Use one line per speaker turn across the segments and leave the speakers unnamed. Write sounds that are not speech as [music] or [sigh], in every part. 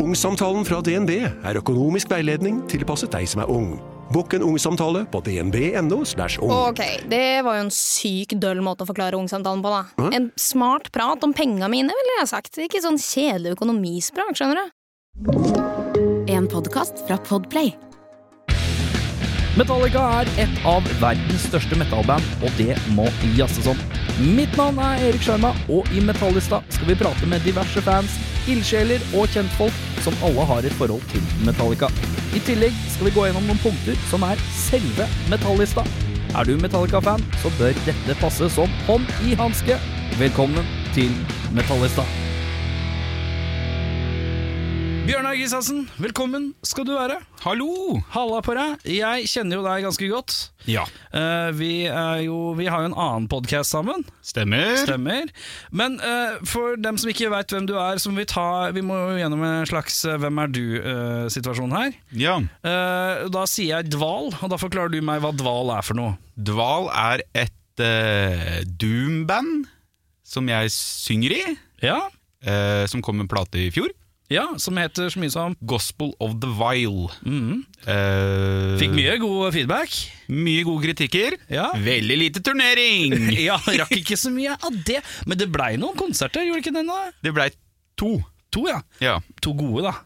Ungsamtalen fra DNB er økonomisk veiledning tilpasset deg som er ung. Bokk en ungsamtale på dnb.no. slash ung.
Ok, det var jo en syk døll måte å forklare ungsamtalen på, da. En smart prat om penga mine, ville jeg sagt. Ikke sånn kjedelig økonomisprat, skjønner du.
En podkast fra Podplay.
Metallica er et av verdens største metallband, og det må jazzes om. Mitt navn er Erik Sjarma, og i Metallista skal vi prate med diverse fans, ildsjeler og kjentfolk som alle har et forhold til Metallica. I tillegg skal vi gå gjennom noen punkter som er selve Metallista. Er du Metallica-fan, så bør dette passe som hånd i hanske. Velkommen til Metallista. Bjørnar Gisassen, velkommen skal du være.
Hallo!
Halla på deg. Jeg kjenner jo deg ganske godt.
Ja,
Eh, vi, er jo, vi har jo en annen podkast sammen,
stemmer.
stemmer. Men eh, for dem som ikke veit hvem du er, så må vi, ta, vi må jo gjennom en slags eh, 'hvem er du'-situasjon her.
Ja.
Eh, da sier jeg dval, og da forklarer du meg hva dval er for noe.
Dval er et eh, doomband som jeg synger i,
Ja,
eh, som kom med en plate i fjor.
ja Som heter så mye som
Gospel of the Vile.
Mhm.
Eh,
Fikk mye god feedback.
mye gode kritikker.
Ja.
Veldig lite
[laughs]
turnering!
Ja, Rakk ikke så mye av det, men det blei noen konserter, gjorde det ikke det? nå?
Det blei to.
To, ja.
Ja.
To gode, da.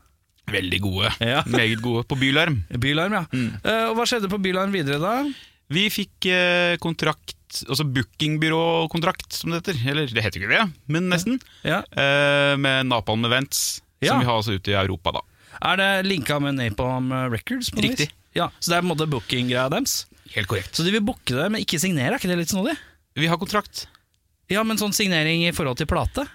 Veldig gode.
Ja.
Meget gode. På Bylarm.
Bylarm, ja. Eh, og hva skjedde på Bylarm videre da?
Vi fikk eh, kontrakt, altså bookingbyråkontrakt, som det heter. Eller det heter ikke det, men nesten.
Ja.
Eh, med Napalm Events,
Ja.
som vi har altså ute i Europa, da.
Er det linka med Napalm Records? på noe
Riktig.
vis? Ja, Så det er på en måte booking-greia deres?
Helt korrekt.
Så de vil booke det, men ikke signere? Er ikke det litt snodig?
Vi har kontrakt.
Ja, men sånn signering i forhold til plate?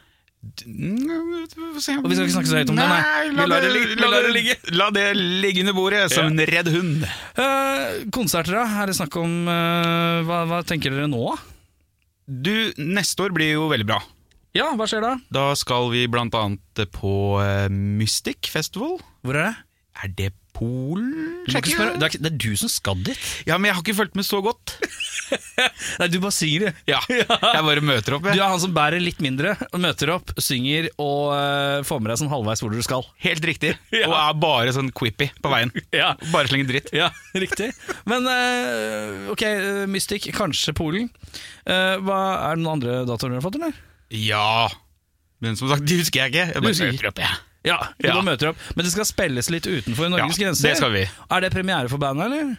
Og
vi skal ikke snakke så høyt om det, nei.
la,
Vi lar
det,
det ligge- vi
la,
lar
det
det
ligge. la det ligge under bordet som en redd hund.
Eh, konserter, da? Er det snakk om eh, hva, hva tenker dere nå, da?
Du, neste år blir jo veldig bra.
Ja, hva skjer da?
Da skal vi blant annet på eh, Mystic Festival.
Hvor er det?
Er det Polen?
Du må ikke
Tsjekkia?
spørre- Det er, ikke- det er du som skal dit?
Ja, men jeg har ikke fulgt med så godt.
[laughs] Nei, du bare synger, du.
Ja, jeg bare møter opp,
Du er
jeg.
han som bærer litt mindre, og møter opp, synger og eh, får med deg sånn halvveis hvor du skal.
Helt riktig.
Ja.
Og er bare sånn quippy på veien.
Ja.
Bare slenger dritt.
Ja, [laughs] riktig. Men eh, ok, eh, Mystic, kanskje Polen. Eh, hva, er det noen andre datoer dere har fått, eller?
Ja. Men som sagt, [laughs] de husker jeg ikke. Jeg
Du
bare
husker ikke.
møter opp, jeg.
Ja,
Ja.
Da møter dere opp. Men det skal spilles litt utenfor Norges
Ja,
grenser.
det skal vi.
Er det premiere for bandet, eller?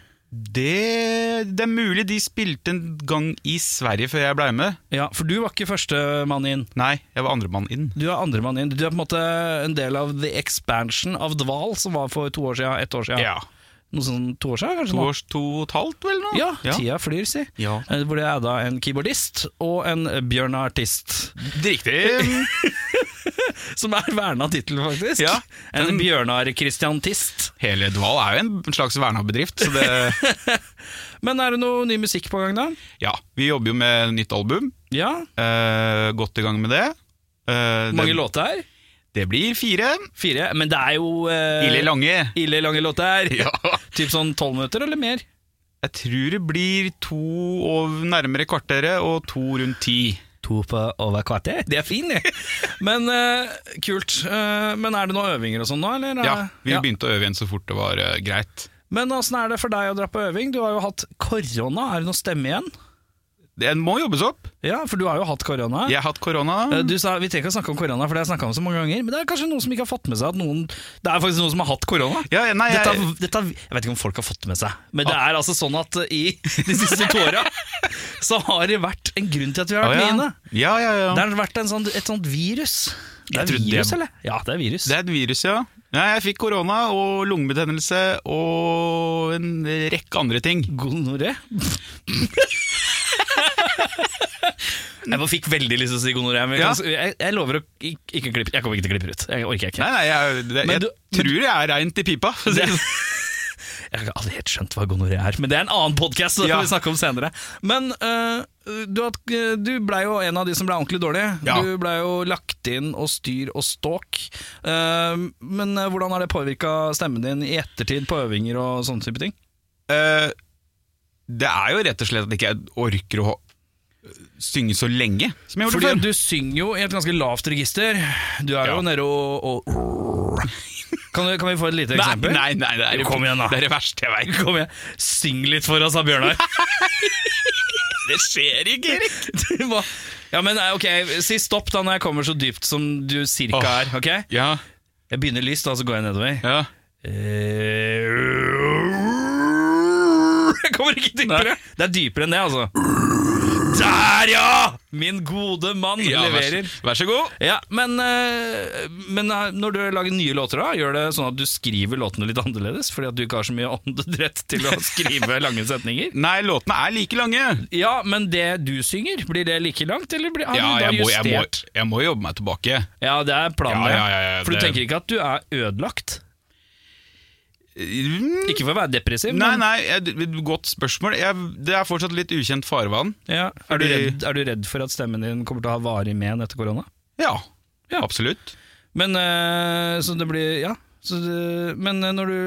Det, det er mulig de spilte en gang i Sverige før jeg ble med.
Ja, For du var ikke førstemann inn.
Nei, jeg var andremann inn.
Du er andremann inn. Du er på en måte en del av the expansion av Dval, som var for to år siden, ett år siden.
Ja.
Noe sånn to år siden, kanskje?
To,
nå?
års, to og et halvt, vel? nå?
Ja, tida flyr, si.
Ja.
Eh, Hvor det er da en keyboardist og en bjørnartist.
Det er Riktig.
Som er verna tittel, faktisk.
Ja,
En
den-
bjørnar-kristiantist.
[laughs] Hele Dval er jo en slags verna bedrift, så
[laughs]
det
Men er det noe ny musikk på gang, da?
Ja. Vi jobber jo med nytt album.
Ja.
Eh, godt i gang med det. Eh,
Hvor mange
det,
låter her?
Det blir fire.
Fire. Men det er jo eh,
Ille lange.
ille lange låter.
Ja.
Typ sånn tolv minutter eller mer?
[laughs] Jeg tror det blir to og nærmere kvarteret og to rundt ti.
To på over kvarter? Det er fin, det. Men eh, kult. Eh, men er det noen øvinger og sånn nå, eller?
Ja, vi
Ja.
begynte å øve igjen så fort det var eh, greit.
Men åssen er det for deg å dra på øving? Du har jo hatt korona. Er det noe stemme igjen?
Den må jobbes opp.
Ja, for du har jo hatt korona.
Jeg har hatt korona.
Eh, Du sa, Vi trenger ikke å snakke om korona, for det har jeg snakka om så mange ganger. Men det er kanskje noen som ikke har fått med seg at noen Det er faktisk noen som har hatt korona.
Ja, nei, jeg,
Dette, dette, jeg vet ikke om folk har fått det med seg, men det er altså sånn at i [laughs] de siste to [laughs] åra så har det vært en grunn til at vi har
Å,
vært
ja.
med inne.
Ja, ja, ja.
Det har vært en sånn, et sånt virus. Det
Jeg
er
trodde det-
virus, eller? Ja, det er virus.
Det er et virus, ja. Nei, jeg fikk korona og lungebetennelse og en rekke andre ting.
Gonoré. [laughs] jeg bare fikk veldig lyst til å si gonoré. Men jeg,
Ja.
kan- jeg, jeg lover å ikke, ikke klippe Jeg kommer ikke til å klippe det ut. Jeg orker ikke.
Nei, nei, jeg, det,
Men
jeg
du-
tror jeg er reint i pipa. for å si
Det,
det sånn.
jeg har aldri helt skjønt hva gonoré er, men det er en annen podkast. Det får
Ja.
vi snakke om senere. Men øh, du, had- du blei jo en av de som blei ordentlig dårlig.
Ja.
Du blei jo lagt inn og styr og ståk. Ehm, men øh, hvordan har det påvirka stemmen din i ettertid på øvinger og sånne type ting?
Eh, det er jo rett og slett at ikke jeg orker å ha- synge så lenge som jeg gjorde
Fordi at
før.
du synger jo i et ganske lavt register. Du er
Ja.
jo nede og, [laughs] og Kan, vi- kan vi få et lite
Nei,
eksempel?
nei, nei, det er,
Jo, kom igjen da.
det er det verste jeg vet.
Kom igjen. Syng litt for oss, da, Bjørnar.
Det skjer ikke,
[laughs]
Erik.
Du må- ja, men eh, ok, Si stopp da når jeg kommer så dypt som du cirka
Åh.
er. ok?
Ja,
Jeg begynner lyst, da, så går jeg nedover.
ja.
Eh, [laughs] Jeg kommer ikke dypere. Det er dypere enn det, altså. Der, ja! Min gode mann
ja vær,
leverer.
vær så god.
Ja, men, eh, men eh, når du lager nye låter, da, gjør det sånn at du skriver låtene litt [laughs] annerledes? Fordi at du ikke har så mye åndedrett til å skrive
[laughs]
lange setninger?
Nei, låtene er like lange.
Ja, men det du synger, blir det like langt, eller blir, har
Ja,
du da
jeg må, jeg, må,
justert?
jeg må jobbe meg tilbake.
Ja, det er planen,
Ja,
det.
ja, ja, ja,
for du
det-
tenker ikke at du er ødelagt?
Mm,
Ikke for å være depressiv,
Nei,
men
nei, jeg, godt spørsmål. Jeg, det er fortsatt litt ukjent farvann.
ja, er, du
Fordi-
redd, er du redd for at stemmen din kommer til å ha varig men etter korona?
Ja, absolutt.
Men eh, så det blir Ja. Så det, men eh, når du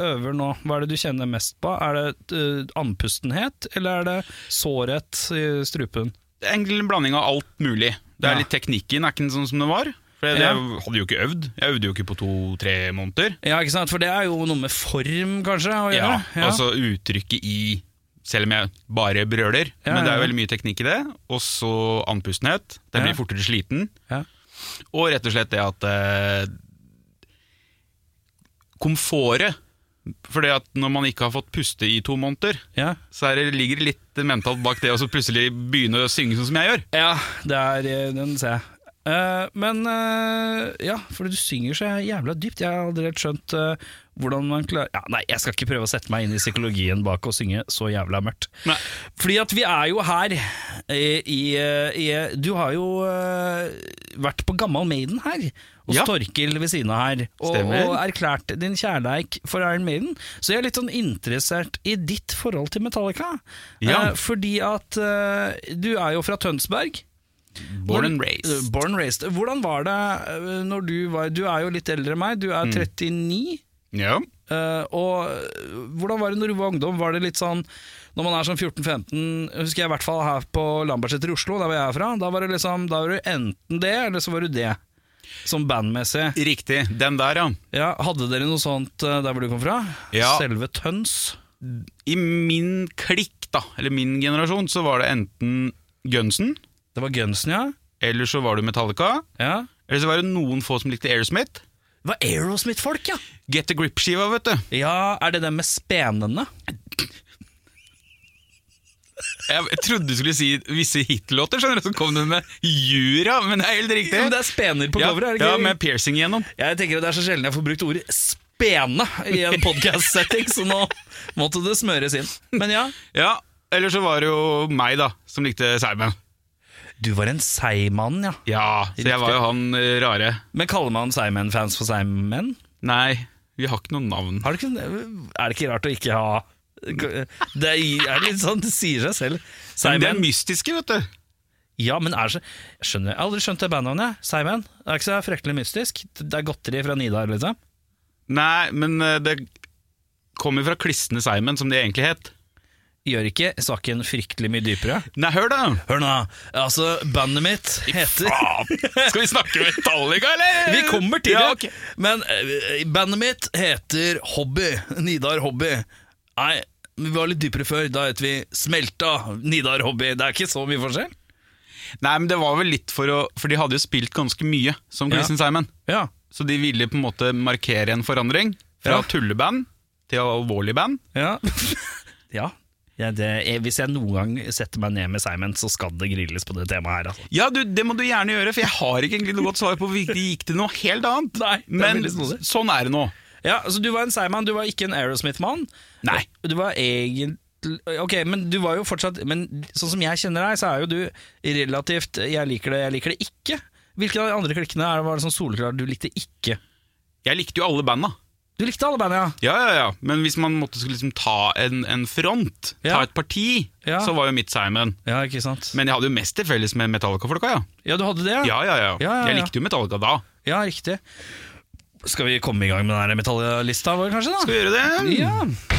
øver nå, hva er det du kjenner mest på? Er det eh, andpustenhet, eller er det sårhet i strupen?
Det er egentlig en blanding av alt mulig. Det er
Ja.
litt teknikken er ikke sånn som den var. For jeg,
Ja.
jeg hadde jo ikke øvd. Jeg øvde jo ikke på to-tre måneder.
Ja, ikke sant? For det er jo noe med form, kanskje, å gjøre. Ja.
Altså uttrykket i Selv om jeg bare brøler.
Ja,
men det er
ja.
jo veldig mye teknikk i det. Og så andpustenhet. Den
Ja.
blir fortere sliten.
Ja.
Og rett og slett det at eh, Komfortet. For det at når man ikke har fått puste i to måneder,
ja.
så er det, ligger det litt mentalt bak det å så plutselig begynne å synge sånn som jeg gjør.
ja, det er eh, Den ser jeg. Eh, men eh, ja, for du synger så jævla dypt. Jeg har aldri helt skjønt eh, hvordan man klarer ja, Nei, jeg skal ikke prøve å sette meg inn i psykologien bak å synge så jævla mørkt.
Nei.
Fordi at vi er jo her eh, i, eh, i Du har jo eh, vært på Gammal Maiden her, og
Ja.
Storkil ved siden av her. Og,
Stemmer.
og erklært din kjærleik for Iron Maiden. Så jeg er litt sånn interessert i ditt forhold til Metallica.
Ja.
Eh, fordi at eh, du er jo fra Tønsberg.
Born
Hvordan-
and raised.
Eh, Born and raised. Hvordan var det eh, når du var Du er jo litt eldre enn meg, du
Mm.
er 39.
Ja.
Eh, og eh, hvordan var det når du var ungdom? Var det litt sånn Når man er sånn 14-15 Husker jeg i hvert fall her på Lambertseter i Oslo, der hvor jeg er fra. Da var det liksom Da var du enten det, eller så var du det. Som bandmessig.
Riktig. Den der, ja.
Ja, hadde dere noe sånt eh, der hvor du kom fra?
Ja.
Selve Tøns?
I min klikk, da, eller min generasjon, så var det enten Gunsen,
Det var Gunsen, ja?
eller så var det Metallica,
ja.
eller så var det noen få som likte Aerosmith.
Det var Aerosmith-folk, ja!
Get the Grip-skiva, vet du.
Ja, Er det den med spenene?
Jeg, jeg trodde du skulle si visse hitlåter, skjønner du, så kom du med Jura, men det er helt riktig.
Men [laughs] det er spener på
ja,
coveret, er det
ja,
ikke?
med piercing igjennom.
Jeg tenker at Det er så sjelden jeg får brukt ordet spene i en podcast-setting, så nå måtte det smøres inn. Men ja,
Ja, eller så var det jo meg, da, som likte Simon.
Du var en seigmann, ja.
Ja, så jeg var jo han eh, rare.
Men kaller man seigmenn-fans for seigmenn?
Nei, vi har ikke noe navn.
Har du ikke- Er det ikke rart å ikke ha Det er litt sånn, det sier seg selv.
Men det er
Seigmenn.
mystiske, vet du.
Ja, men er så Jeg skjønner, jeg har aldri skjønt det bandnavnet. jeg. Seigmenn. Det er ikke så fryktelig mystisk. Det er godteri fra Nidar, liksom.
Nei, men eh, det kommer fra Klissende Simon, som det egentlig het.
Gjør ikke saken fryktelig mye dypere.
Nei, hør da!
Hør nå, altså, bandet mitt heter
Skal vi snakke Metallica, eller?
[laughs] Vi kommer til det.
Ja, ok.
Men eh, bandet mitt heter Hobby. Nidar Hobby. Nei, vi var litt dypere før. Da het vi Smelta Nidar Hobby. Det er ikke så mye forskjell.
Nei, men det var vel litt for å For de hadde jo spilt ganske mye som Klissende Simon.
Ja.
Så de ville på en måte markere en forandring fra
Ja.
tulleband til alvorlig band.
Ja. [laughs] Ja, det er, hvis jeg noen gang setter meg ned med Simon, så skal det grilles på det temaet her. Altså.
Ja, du, det må du gjerne gjøre, for jeg har ikke egentlig noe godt svar på hvorfor de gikk til noe helt annet.
Nei, det er
men
veldig snodig.
sånn er det nå.
Ja, så Du var en Simon, du var ikke en Aerosmith-mann.
Nei.
Du var egentlig Ok, men du var jo fortsatt Men sånn som jeg kjenner deg, så er jo du relativt 'jeg liker det, jeg liker det ikke'. Hvilke av de andre klikkene er det var det sånn soleklart du likte ikke?
Jeg likte jo alle banda.
Du likte alle bandene,
Ja, ja, ja. Men hvis man måtte skulle liksom ta en, en front,
Ja.
ta et parti,
Ja.
så var jo mitt Simon.
ja? Ja, ikke sant?
Men jeg hadde jo mest til felles med Metallica-folka, ja.
ja, du hadde det, ja?
Ja, ja, ja.
ja,
Jeg
ja.
likte jo Metallica da.
Ja, riktig. Skal vi komme i gang med den her metalllista vår, kanskje? da?
Skal vi gjøre det?
Ja.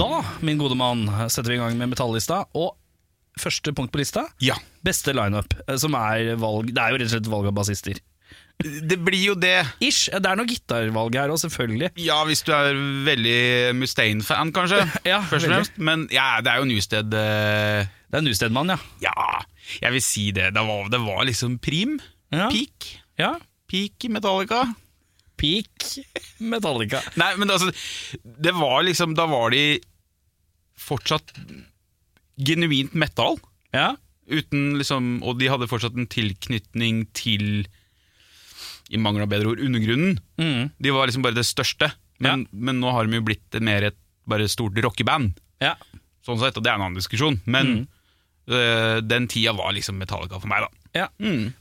Da, min gode mann, setter vi i gang med metallista. Og første punkt på lista,
Ja.
beste lineup, eh, som er valg Det er jo rett og slett valg av bassister.
Det blir jo det.
Ish. eh, Det er noe gitarvalg her òg, selvfølgelig.
Ja, hvis du er veldig Mustaine-fan, kanskje.
[laughs] Ja,
først og
veldig.
fremst. Men ja, det er jo Newsted eh,
Det er Nustedmann, ja.
Ja, jeg vil si det. Det var, det var liksom prim.
Ja.
Peak.
ja.
Peak i Metallica.
Peak [laughs] Metallica.
Nei, men altså Det var liksom Da var de fortsatt genuint metal.
Ja.
Uten liksom Og de hadde fortsatt en tilknytning til I mangel av bedre ord undergrunnen.
Mm.
De var liksom bare det største. Men, men nå har de jo blitt mer et bare stort rockeband.
ja.
Sånn sett, og det er en annen diskusjon.
Mm.
Men øh, den tida var liksom Metallica for meg, da.
ja.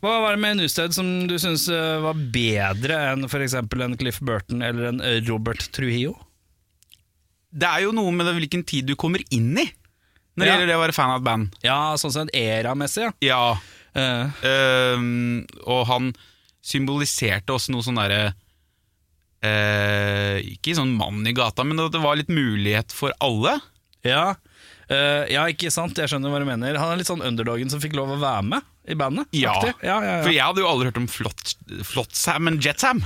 Hva var det med Nusted som du syns var bedre enn f.eks. en Cliff Burton eller en eh, Robert Trujillo?
Det er jo noe med det, hvilken tid du kommer inn i når det
Ja.
gjelder det å være fan av et band.
Ja, sånn sett eramessig, ja.
Ja,
Eh,
øhm, Ehm, Og han symboliserte også noe sånn derre eh, Ikke sånn mann i gata, men at det var litt mulighet for alle.
ja. Eh, ja, ikke sant? Jeg skjønner hva du mener. Han er litt sånn underdogen som fikk lov å være med i bandet.
Ja.
aktig. ja, ja,
For
ja.
jeg hadde jo aldri hørt om Flott- Flotsam and Jetsam.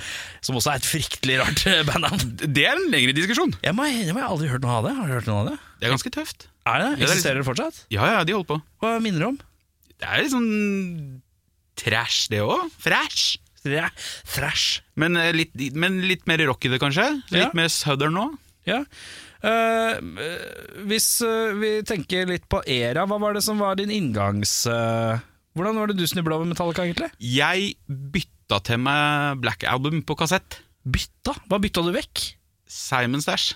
Som også er et fryktelig rart [laughs] eh, bandnavn.
Det er en lengre diskusjon.
Jeg må innrømme, jeg har aldri hørt noe av det. Har du hørt noe av det?
Det er ganske tøft.
Er det?
Ja, det er
Eksisterer det fortsatt?
Ja, ja, de holder på.
Hva minner det om?
Det er litt sånn trash, det òg. Fresh.
Thra- Thrash.
Men, eh, litt, men litt mer rock i det, kanskje? Litt
Ja.
mer southern nå?
Ja. Eh, hvis eh, vi tenker litt på Era, hva var det som var din inngangs... eh, hvordan var det du snubla over Metallica, egentlig?
Jeg bytta til meg Black Album på kassett.
Bytta? Hva bytta du vekk?
Simon Stash.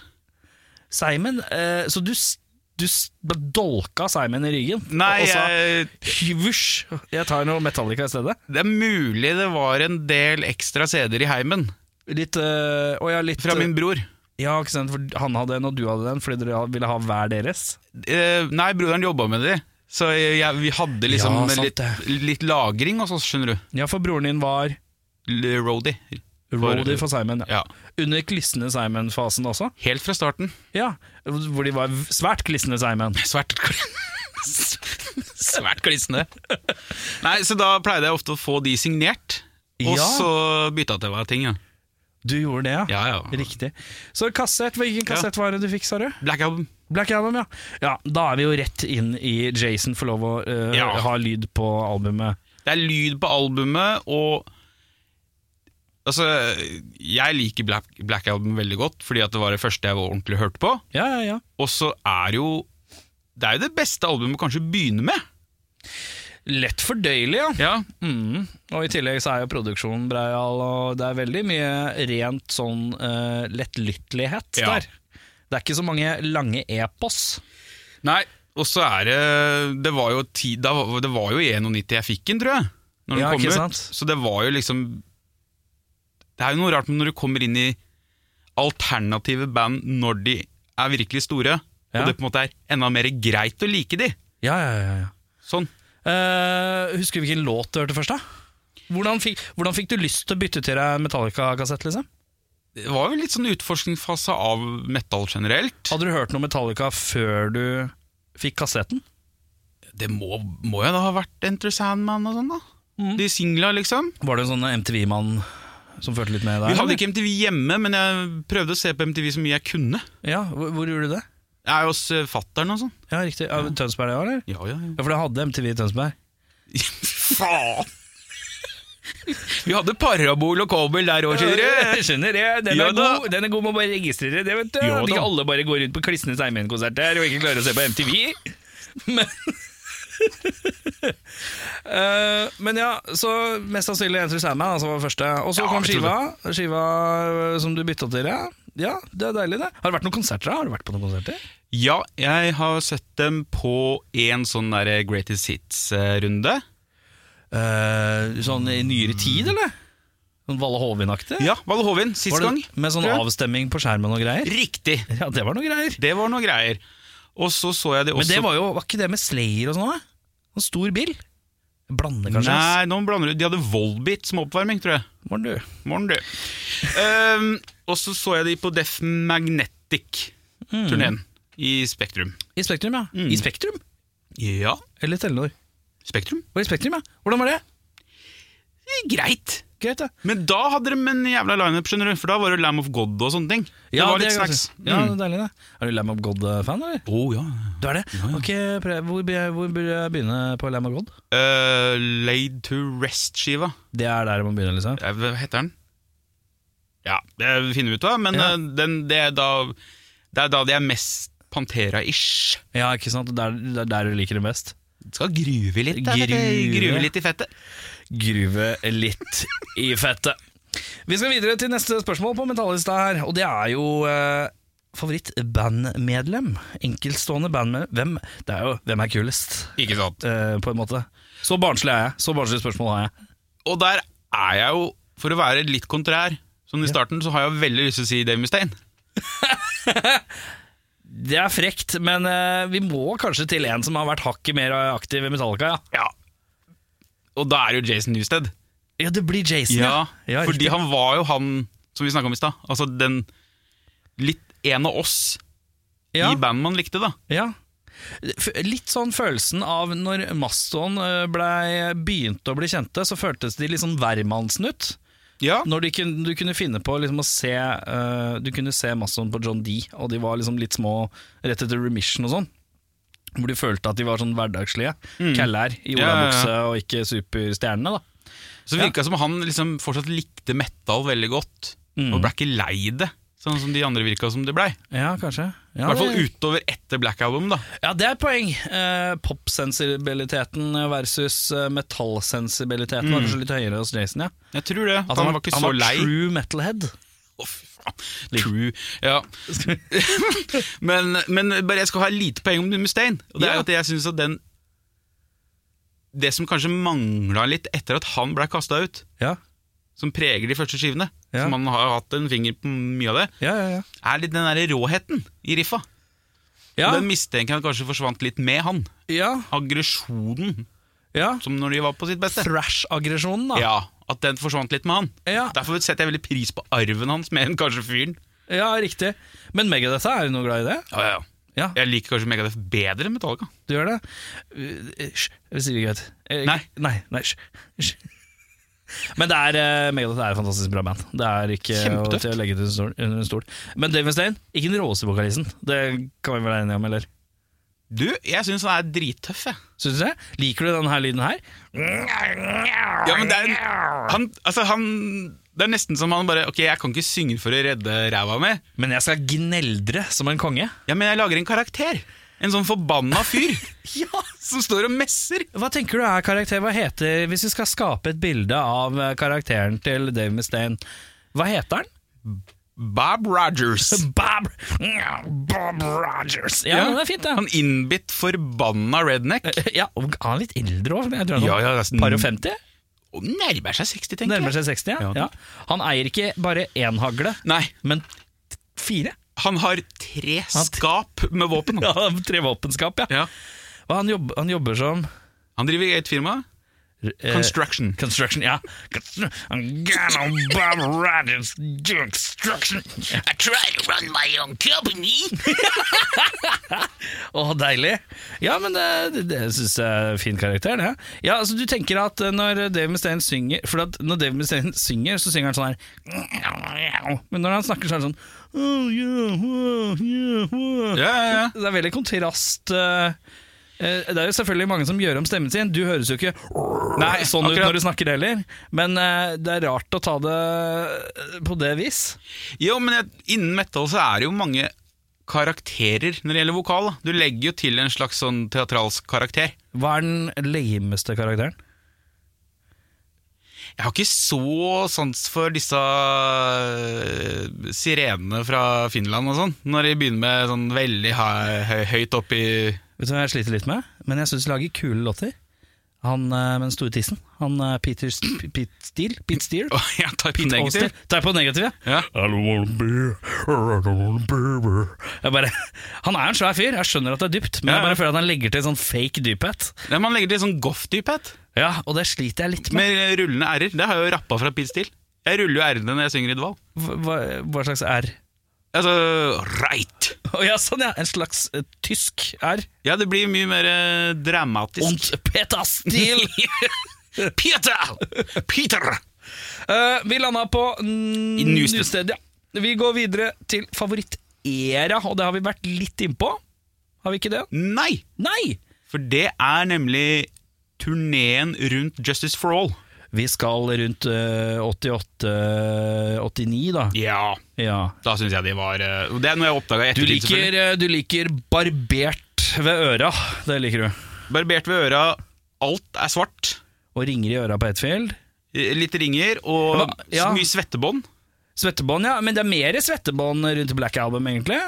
Simon? eh, så du, s- du s- dolka Simon i ryggen?
Nei,
og, og sa
jeg,
Hysj! Jeg tar noe Metallica i stedet.
det er mulig det var en del ekstra CD-er i heimen
Litt eh, Å ja, litt eh,
fra min bror.
Ja, ikke sant, for han hadde en, og du hadde den, fordi dere ville ha hver deres.
Eh, nei, broderen jobba med de, så jeg, jeg, vi hadde liksom
Ja, sant
litt,
det.
litt lagring og sånn, skjønner du.
Ja, for broren din var
L- Roadie.
roadie for Simon. Ja.
Ja.
Under klissende Simon-fasen også.
Helt fra starten.
Ja, hvor de var v- svært klissende, Simon.
Svært [laughs] Svært klissende. Nei, så da pleide jeg ofte å få de signert, og
Ja.
så bytta til meg ting. Ja.
Du gjorde det, ja?
Ja, ja.
Riktig. Så kassett, hvilken kassett var det du fikk, sa du?
Black Album.
Black Album, ja. Ja, Da er vi jo rett inn i Jason får lov å eh,
Ja.
ha lyd på albumet.
Det er lyd på albumet, og Altså, jeg liker Black, Black Album veldig godt, fordi at det var det første jeg ordentlig hørte på.
Ja, ja, ja.
Og så er jo Det er jo det beste albumet å kanskje begynne med.
Lett fordøyelig, ja.
Ja,
Mm. Og i tillegg så er jo produksjonen breial, og det er veldig mye rent sånn eh, lettlyttelighet
Ja.
der. Det er ikke så mange lange epos.
Nei, og så er det Det var jo, ti, da, var- det var jo i 91 jeg fikk den, tror jeg. Når den
Ja,
kom
ikke
ut.
sant?
Så det var jo liksom Det er jo noe rart med når du kommer inn i alternative band når de er virkelig store,
Ja.
og det på en måte er enda mer greit å like de.
Ja, ja, ja, ja.
Sånn.
Eh, husker du hvilken låt du hørte først, da? Hvordan fikk, hvordan fikk du lyst til å bytte til deg en Metallica-kassett? liksom?
Det var jo litt sånn utforskningsfase av metal generelt.
Hadde du hørt noe Metallica før du fikk kassetten?
Det må, må jo da ha vært Enter Sandman og sånn, da.
Mm.
De singla, liksom.
Var du en sånn MTV-mann som førte litt med der?
Vi
eller?
hadde ikke MTV hjemme, men jeg prøvde å se på MTV så mye jeg kunne.
Ja, hvor, hvor gjorde du det?
Jeg er jo hos eh, fatteren og sånn.
Ja, riktig. Ja, Tønsberg, det var, eller?
Ja, ja, ja.
Ja, for du hadde MTV i Tønsberg?
Faen! [laughs] Vi hadde parabol og kobel der òg, skjønner du.
Skjønner det. Den,
Ja
er
da.
god. den er god, må bare registrere det, vet du.
Ja
At ikke
da.
alle bare går rundt på Klissnes Eimen-konserter og ikke klarer å se på MTV. [laughs] Men, [laughs] Eh, men ja, så mest sannsynlig Enter Sandman altså var første. Og så
Ja,
kom
jeg
skiva, skiva eh, som du bytta til. Ja. ja, det er deilig, det. Har det vært noen konserter? da? Har du vært på noen konserter?
Ja, jeg har sett dem på en sånn der Greatest Hits-runde.
Eh, sånn i nyere tid, eller? Sånn Valle Hovin-aktig?
Ja, Valle Hovin, sist
Var det
gang.
Med sånn
tror jeg.
avstemming på skjermen og greier?
Riktig!
Ja, det var noe greier.
Det var noe greier. Og så så jeg det
Men
også
det var jo, var ikke det med Slayer og sånn? da? En stor bil? Blande, kanskje?
Nei, nå blander du De hadde Volbeat som oppvarming, tror jeg.
ass. Morn, du. [laughs]
Morgen, du. Ehm, og så så jeg de på Def
Mm.
Magnetic-turneen i Spektrum.
I Spektrum, ja. I Spektrum?
Ja,
Eller Telenor.
Spektrum.
Og i Spektrum, ja. Hvordan var det?
Greit.
greit, det.
Men da hadde de en jævla lineup, skjønner du. For da var det Lamb of God og sånne ting. Det var litt
er greit.
snacks.
Ja,
Mm.
det er deilig, det. Er du Lamb of God-fan, eller?
Oh, ja.
Du er det? Ok, pre- hvor, be- hvor burde jeg begynne på Lamb of God?
Eh, laid to Rest-skiva.
Det er der man begynner, liksom.
Eh, Hva heter den? Ja, det finner vi ut av, men
Ja.
eh, den, det, er da, det er da de er mest Pantera-ish.
Ja, ikke sant? Der, der, der du liker det best.
Skal gruve litt. da, vet du.
Gruve.
gruve litt i fettet.
Gruve litt i fettet. Vi skal videre til neste spørsmål på Metallista her, og det er jo eh, favoritt-bandmedlem. Enkeltstående bandmedlem. Hvem, det er jo, hvem er kulest,
Ikke sant.
eh, på en måte. Så barnslig er jeg. Så barnslig spørsmål har jeg.
Og der er jeg jo, for å være litt kontrær, sånn i starten, så har jeg veldig lyst til å si Dave Mustaine.
Det er frekt, men eh, vi må kanskje til en som har vært hakket mer aktiv i Metallica, ja.
Ja. Og da er det jo Jason Newsted.
Ja, det blir Jason,
Ja,
ja
fordi
riktig.
han var jo han som vi snakka om i stad. Altså den litt en av oss
ja.
i bandet man likte, da.
Ja. F- Litt sånn følelsen av når Maston eh, blei- begynte å bli kjente, så føltes de litt sånn hvermannsen ut.
Ja,
Når de kun, du kunne finne på liksom å se eh, Du kunne se Maston på John D, og de var liksom litt små rett etter remission og sånn. Hvor du følte at de var sånn hverdagslige. Kallær i
Mm. Ja, ja, ja.
olabukse og ikke superstjernene, da.
Så det virka som han liksom fortsatt likte metal veldig godt,
Mm.
og ble ikke lei det. Sånn som de andre virka som det blei.
Ja, kanskje.
I
Ja,
hvert fall
det-
utover etter Black Album, da.
Ja, det er et poeng. Eh, Popsensibiliteten versus eh, metallsensibiliteten
Mm.
var kanskje litt høyere hos Jason, ja.
Jeg tror det.
At
han, var ikke så lei.
true metalhead.
Å, fy faen. True.
[laughs]
Ja. men, men bare jeg skal ha lite poeng om Mustaine. Og det
Ja.
er jo at jeg synes at den Det som kanskje mangla litt etter at han ble kasta ut,
Ja,
som preger de første skivene,
Ja.
som han har hatt en finger på mye av det,
ja, ja. ja.
er litt den der råheten i riffa. Og Den mistenker jeg kanskje forsvant litt med han.
ja,
Aggresjonen,
ja.
som når de var på sitt beste.
Thrash-aggresjonen, da.
Ja, At den forsvant litt med han.
Ja.
Derfor setter jeg veldig pris på arven hans mer enn kanskje fyren.
Ja, riktig. Men Megadeth, er du noe glad i det?
Ja, ja, ja.
Ja,
Jeg liker kanskje Megadeth bedre enn Metallica.
du gjør det? Uh, Hysj, det sier vi ikke høyt. Eh,
Nei.
Nei, nei, hysj, hysj. Men det er, eh, Megadeth er et fantastisk bra band. Det er ikke å,
Kjempetøft.
til å legge det under stol- under en stol. Men Dave Mustaine, ikke den råeste vokalisten. Det kan vi vel være enige om, eller?
Du, jeg syns han er drittøff, jeg.
Syns du det? Liker du denne lyden her?
Ja, men det er, en- han, altså, han, det er nesten som han bare Ok, jeg kan ikke synge for å redde ræva mi,
Men jeg skal gneldre som en konge.
ja, men jeg lager en karakter. En sånn forbanna fyr
[laughs] Ja!
som står og messer.
Hva tenker du er karakter? Hva heter, hvis vi skal skape et bilde av eh, karakteren til Dave Mustaine, hva heter han?
Bob Rogers.
Bob, Bob Rogers. Ja, men det er fint, det.
Han innbitt, forbanna redneck.
ja, og er han litt eldre òg?
Ja, ja, nesten-
Par og 50?
Og nærmer seg 60, tenker
Nærmer
jeg.
seg 60, ja.
Ja.
ja. Han eier ikke bare én hagle,
Nei,
men t- fire.
han har tre
har tre-
skap med våpen.
Ja, Tre våpenskap, ja.
Ja.
Og han, jobb, han jobber som
Han driver i et firma.
eh,
Construction.
Construction, ja. Constru- I'm gonna Bob Rogers do construction. I try to run my own [laughs] company. Å, deilig. Ja, men det, det syns jeg er fin karakter, det. Ja, altså Du tenker at når Dave Mustaine synger For at når Dave Mustaine synger, så synger han sånn her Men når han snakker, så er det sånn oh, yeah, oh, yeah, oh.
Ja, ja, ja.
Det er veldig kontrast eh, eh, Det er jo selvfølgelig mange som gjør om stemmen sin Du høres jo ikke
Nei,
sånn ut
akkurat.
når du snakker heller Men eh, det er rart å ta det eh, på det vis
Jo, men jeg, innen metal så er det jo mange karakterer når det gjelder vokal. Da. Du legger jo til en slags sånn teatralsk karakter.
Hva er den lameste karakteren?
Jeg har ikke så sans for disse øh, sirenene fra Finland og sånn, når de begynner med sånn veldig hø- hø- høyt opp i [laughs]
Vet du hva jeg sliter litt med? Men jeg synes de lager kule låter Han eh, med den store tissen Han eh, Peter S- P- Pete Steele Pete Steele
Å, Jeg tar på
Åsted.
negativ.
Ta på negativ, ja
Ja.
I don't wanna be, I don't wanna be. Jeg bare, [laughs] han er en svær fyr, jeg skjønner at det er dypt, men
Ja,
jeg
ja.
bare føler at han legger til sånn fake dyphet.
Nei, Man legger til sånn goff-dyphet,
Ja, Og det sliter jeg litt med.
med rullende r-er. Det har jeg jo rappa fra Pete Steele. Jeg ruller jo r-ene når jeg synger i dval.
Hva, hva- hva slags R?
Altså, right.
Å ja, sånn ja, en slags eh, tysk R.
Ja, det blir mye mer eh,
[laughs]
dramatisk.
Und Peter Steele!
Peter! Peter!
Eh, vi landa på mm,
Newsted.
Newsted. Ja. Vi går videre til favorittera, og det har vi vært litt innpå. Har vi ikke det?
Nei!
Nei!
For det er nemlig turneen rundt Justice for All.
Vi skal rundt 88-89, da.
Ja,
Ja.
da syns jeg de var eh, Det er noe jeg oppdaga i
Du
ettertid. selvfølgelig.
liker, eh, du liker barbert ved øra. Det liker du.
Barbert ved øra, alt er svart.
Og ringer i øra på Hetfield.
eh, Litt ringer og
Hva? Ja.
så mye svettebånd.
Svettebånd, ja. Men det er mer svettebånd rundt Black Album, egentlig.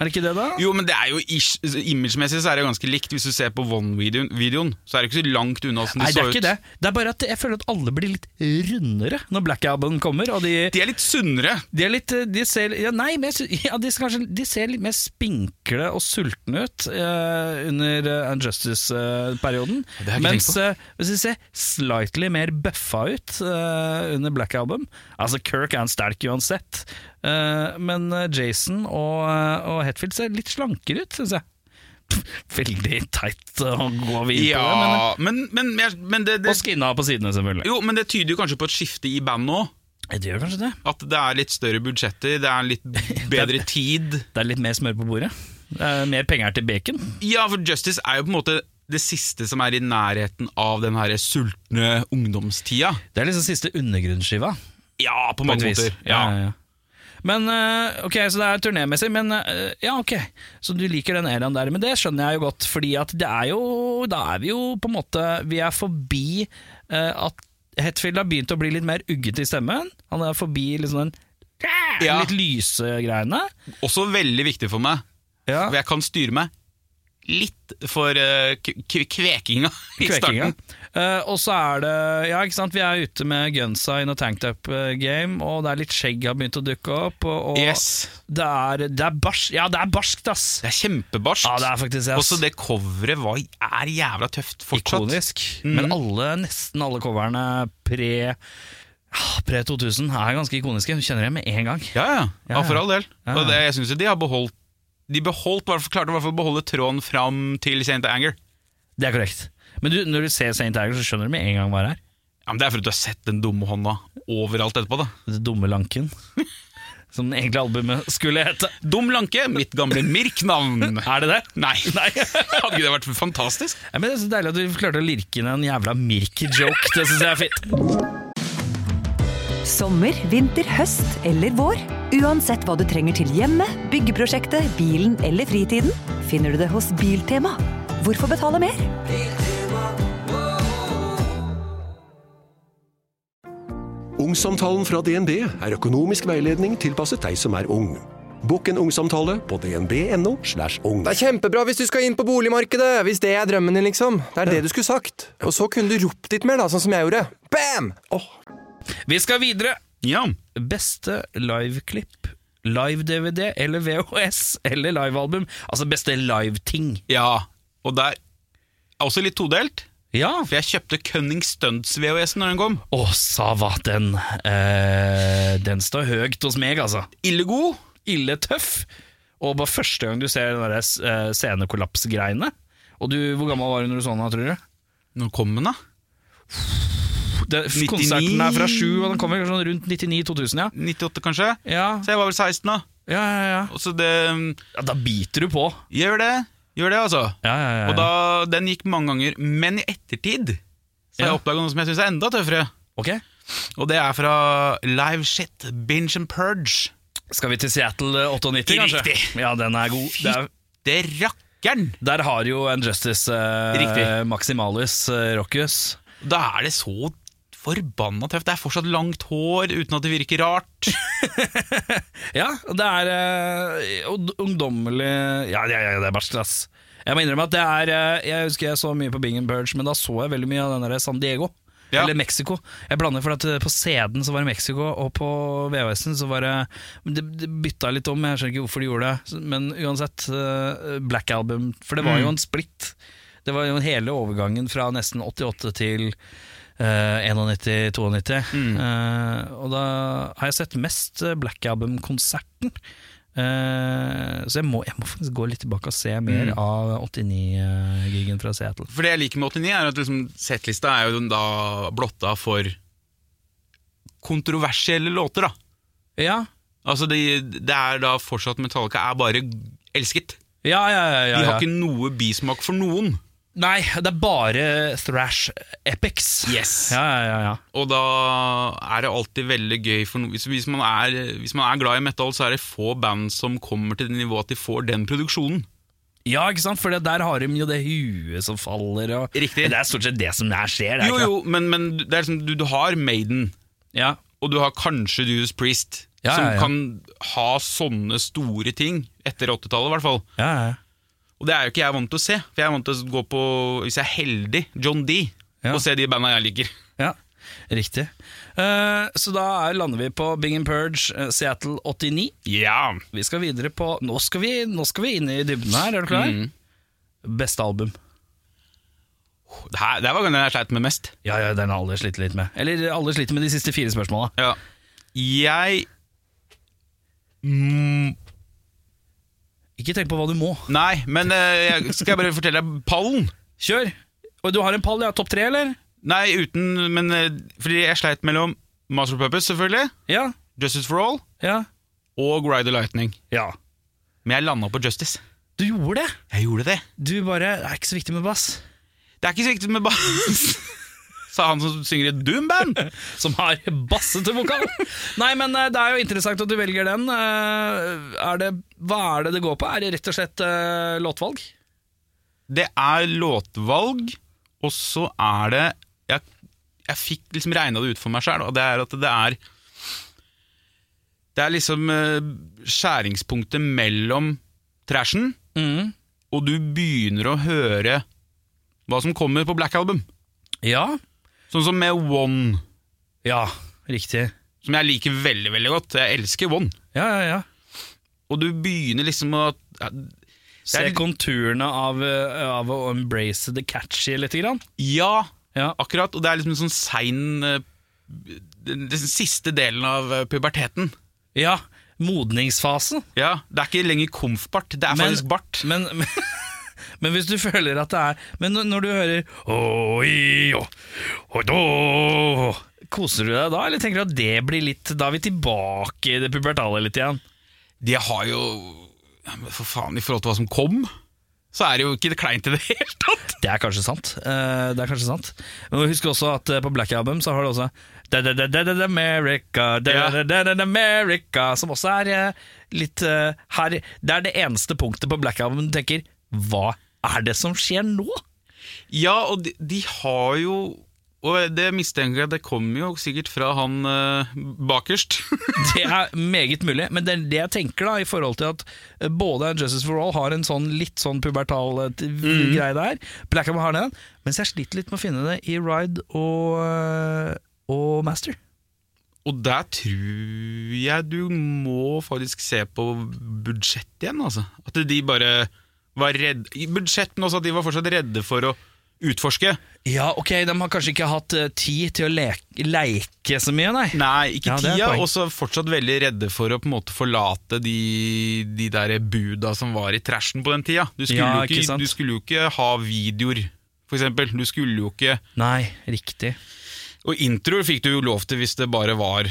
Er det ikke det, da?
Jo, men det er jo ish- imagemessig så er det ganske likt. Hvis du ser på One-videoen, videoen, så er det ikke så langt unna åssen
Nei,
de
det
så
er
ut.
ikke det. Det er bare at jeg føler at alle blir litt rundere når Black Album kommer. Og de,
De er litt sunnere.
de er litt eh, De ser ja, Nei, men jeg sy- [laughs] ja, de, ser kanskje, de ser litt mer spinkle og sultne ut eh, under eh, Unjustice-perioden.
Det har jeg ikke
mens
tenkt
eh, hvis de ser slightly mer bøffa ut eh, under Black Album Altså, Kirk er en sterk uansett, eh, men eh, Jason og, eh, og Hetfield ser litt slankere ut, syns jeg. [laughs] Veldig teit å gå videre
Ja,
på det, men eh,
men, men, jeg- men det,
og
det
skinna på sidene, selvfølgelig.
Jo, men det tyder jo kanskje på et skifte i bandet òg.
Det gjør kanskje det.
At det er litt større budsjetter, det er litt
[laughs]
bedre tid.
Det er litt mer smør på bordet. Det er mer penger til bacon.
Ja, for Justice er jo på en måte det siste som er i nærheten av den her sultne ungdomstida.
Det er liksom siste undergrunnsskiva.
Ja,
På
på
et
mange
vis.
måter. Ja.
ja. Men eh, ok, så det er turnémessig, men eh, ja, ok. Så du liker den eraen der, men det skjønner jeg jo godt, fordi at det er jo Da er vi jo på en måte Vi er forbi eh, at Hetfield har begynt å bli litt mer uggete i stemmen. Han er forbi liksom den
Ja.
litt lyse greiene.
Også veldig viktig for meg,
Ja.
for jeg kan styre meg litt for eh, k- k kvekinga i
Kvekinga.
starten.
Eh, og så er det Ja, ikke sant, vi er ute med gunsa in a tanktop eh, game, og det er litt skjegg har begynt å dukke opp, og, og
Yes.
det er, det er barskt. Ja, det er barskt, ass!
Det er kjempebarskt.
Ja, det er faktisk ass.
Også det coveret var, er jævla tøft fortsatt.
Ikonisk.
Mm.
Men alle, nesten alle coverne pre ah, Pre 2000 er ganske ikoniske. Du kjenner det med en gang.
Ja, ja, ja,
Ja,
for all del.
Ja,
Og
ja.
det, jeg synes jo de har beholdt De beholdt, hvertfall- klarte i hvert fall å beholde tråden fram til Saint Anger.
Det er korrekt. Men du, når du ser St. Tiger, så skjønner du med en gang hva det er.
Ja, men Det er fordi du har sett den dumme hånda overalt etterpå. da
Det dumme lanken. [laughs] Som det egentlige albumet skulle hete.
Dum Lanke, mitt gamle Mirk-navn.
[laughs] Er det det?
Nei. [laughs] Hadde ikke det vært fantastisk?
Ja, men det er så deilig at du klarte å lirke inn en jævla mirke-joke. Det syns jeg er fint.
Sommer, vinter, høst eller vår. Uansett hva du trenger til hjemme, byggeprosjektet, bilen eller fritiden, finner du det hos Biltema. Hvorfor betale mer?
Ungsamtalen fra DNB er økonomisk veiledning tilpasset deg som er ung. Bokk en ungsamtale på dnb.no. slash ung.
Det er kjempebra hvis du skal inn på boligmarkedet, hvis det er drømmen din, liksom. Det er det du skulle sagt. Og så kunne du ropt litt mer, da, sånn som jeg gjorde. Bam! Åh,
Vi skal videre.
Ja.
Beste liveklipp, live-DVD eller VHS eller livealbum. Altså beste live-ting.
ja. Og der er også litt todelt.
Ja.
For jeg kjøpte Cunning Stunts-VHS-en når den kom.
Å, Sava, den eh, Den står høyt hos meg, altså.
Ille god.
Ille tøff. Og bare første gang du ser den der eh, scenekollapsgreiene Og du, Hvor gammel var du når du så den, da, tror du?
Når kom den, da?
Den,
99.
konserten er fra 7, og den kommer sånn rundt 99-2000, ja.
98, kanskje?
Ja,
Så jeg var vel 16 da.
ja, ja, ja.
Og så det mm,
ja. Da biter du på.
Gjør det. Gjør det, altså.
Ja, ja, ja, ja.
Og da, den gikk mange ganger. Men i ettertid så har
Ja.
jeg oppdaga noe som jeg syns er enda tøffere.
Ok,
Og det er fra Live Shit, Binge and Purge.
Skal vi til Seattle eh, 98, kanskje?
Riktig.
Ja, den er god. Det er,
Det rakkeren!
der har jo Unjustice eh,
Riktig.
Maximalis eh, Rockus.
Da er det så forbanna tøft. Det er fortsatt langt hår uten at det virker rart.
Ja, det er eh, og- ungdommelig Ja, ja, ja, det er barskt, ass. Jeg må innrømme at det er eh, Jeg husker jeg så mye på Bing and Purge, men da så jeg veldig mye av den der San Diego.
Ja.
Eller Mexico. Jeg blander for at eh, på CD-en så var det Mexico, og på VHS-en så var det men Det det bytta litt om, jeg skjønner ikke hvorfor de gjorde det. Men uansett, eh, Black Album For det var jo en splitt. Det var jo hele overgangen fra nesten 88 til Eh, 91-92. Eh, og da har jeg sett mest eh, Black Album-konserten. Eh, så jeg må, jeg må faktisk gå litt tilbake og se mer av 89-gigen fra Seattle.
For det jeg liker med 89, er at liksom, settlista er jo den da blotta for kontroversielle låter, da.
Ja,
Altså, det, det er da fortsatt Metallica er bare elsket.
ja, ja. ja,
De
ja,
har
ja.
ikke noe bismak for noen.
Nei, det er bare thrash epics.
Yes.
Ja, ja, ja, ja.
Og da er det alltid veldig gøy for noen hvis, hvis, man er, hvis man er glad i metal, så er det få band som kommer til det nivået at de får den produksjonen.
Ja, ikke sant? For det der har de jo det huet som faller og
Riktig.
Det er stort sett det som der skjer. Det er
Jo,
ikke
jo, men, men det er liksom, du, du har Maiden,
det? Ja.
og du har kanskje Judas Priest,
Ja,
som
ja, ja.
kan ha sånne store ting, etter 80-tallet i hvert fall.
Ja, ja, ja.
Og det er jo ikke jeg vant til å se, for jeg er vant til å gå på, hvis jeg er heldig, John D.
Ja.
Og se de banda jeg liker.
Ja, riktig. Eh, så da er- lander vi på Bing and Purge, eh, Seattle 89.
Ja.
Vi skal videre på Nå skal vi, nå skal vi inn i dybden her, er du klar? Beste album.
Det, her, det her var den jeg sleit med mest.
Ja, ja, den har alle slitt litt med. Eller alle sliter med de siste fire spørsmåla.
Ja. Jeg mm,
Ikke tenk på hva du må.
Nei, men eh, jeg, skal jeg bare fortelle deg pallen?
Kjør! Og du har en pall, ja. Topp tre, eller?
Nei, uten Men eh, fordi jeg sleit mellom Master of Purpose, selvfølgelig,
Ja.
Justice for All
Ja.
og Ride the Lightning.
ja.
Men jeg landa på Justice.
Du gjorde det!
Jeg gjorde det.
Du bare Det er ikke så viktig med bass.
Det er ikke så viktig med bass, [laughs] sa han som synger i et Doom-band.
Som har bassete vokal! Nei, men eh, det er jo interessant at du velger den. Eh, Er det, hva er det det går på? Er det rett og slett eh, låtvalg?
Det er låtvalg, og så er det Jeg, jeg fikk liksom regna det ut for meg sjøl, og det er at det er Det er liksom eh, skjæringspunktet mellom trashen,
Mm.
og du begynner å høre hva som kommer på Black Album.
Ja.
Sånn som med One,
Ja, riktig.
som jeg liker veldig, veldig godt. Jeg elsker One.
Ja, ja, ja.
Og du begynner liksom å
Se
litt-
konturene av, eh, av å embrace the catchy litt. Grann.
Ja,
Ja.
akkurat. Og det er liksom en sånn sein eh, Den den siste delen av eh, puberteten.
ja. Modningsfasen.
Ja, Det er ikke lenger komfbart, det er
Men-
faktisk bart.
Men, [laughs] men, men hvis du føler at det er Men når- når du hører «Oi, å, å, da», Koser du deg da, eller tenker du at det blir litt Da er vi tilbake i det pubertale litt igjen?
De har jo ja, men For faen, i forhold til hva som kom, så er det jo ikke kleint i det [laughs] hele tatt.
Det er kanskje sant. Eh, det er kanskje sant. Men husk også at eh, på Black Album så har du også da, da, da, da, da, da, America, da,
Ja.
da, da, da, da, America, som også er eh, litt eh, her Det er det eneste punktet på Black Album du tenker Hva er det som skjer nå? [laughs]
Ja, og de, de har jo Og det mistenker jeg, det kommer jo sikkert fra han eh, bakerst. [laughs]
Det er meget mulig, men det er det jeg tenker da i forhold til at eh, både Justice for All har en sånn litt sånn pubertal eh, t- greie der. Black Album har den, mens jeg sliter litt med å finne det i Ride og, eh, og Master.
og der tror jeg du må faktisk se på budsjettet igjen, altså. At de bare var redde I budsjettene også, at de var fortsatt redde for å utforske.
Ja, ok, de har kanskje ikke hatt eh, tid til å leke, leke så mye, nei.
Nei, ikke
Ja, det er
tida,
poeng.
og så fortsatt veldig redde for å på en måte forlate de, de der buda som var i trashen på den tida. Du skulle,
Ja,
jo,
ikke
ikke,
sant?
du skulle jo ikke ha videoer, for eksempel. Du skulle jo ikke
Nei, riktig.
Og introer fikk du jo lov til hvis det bare var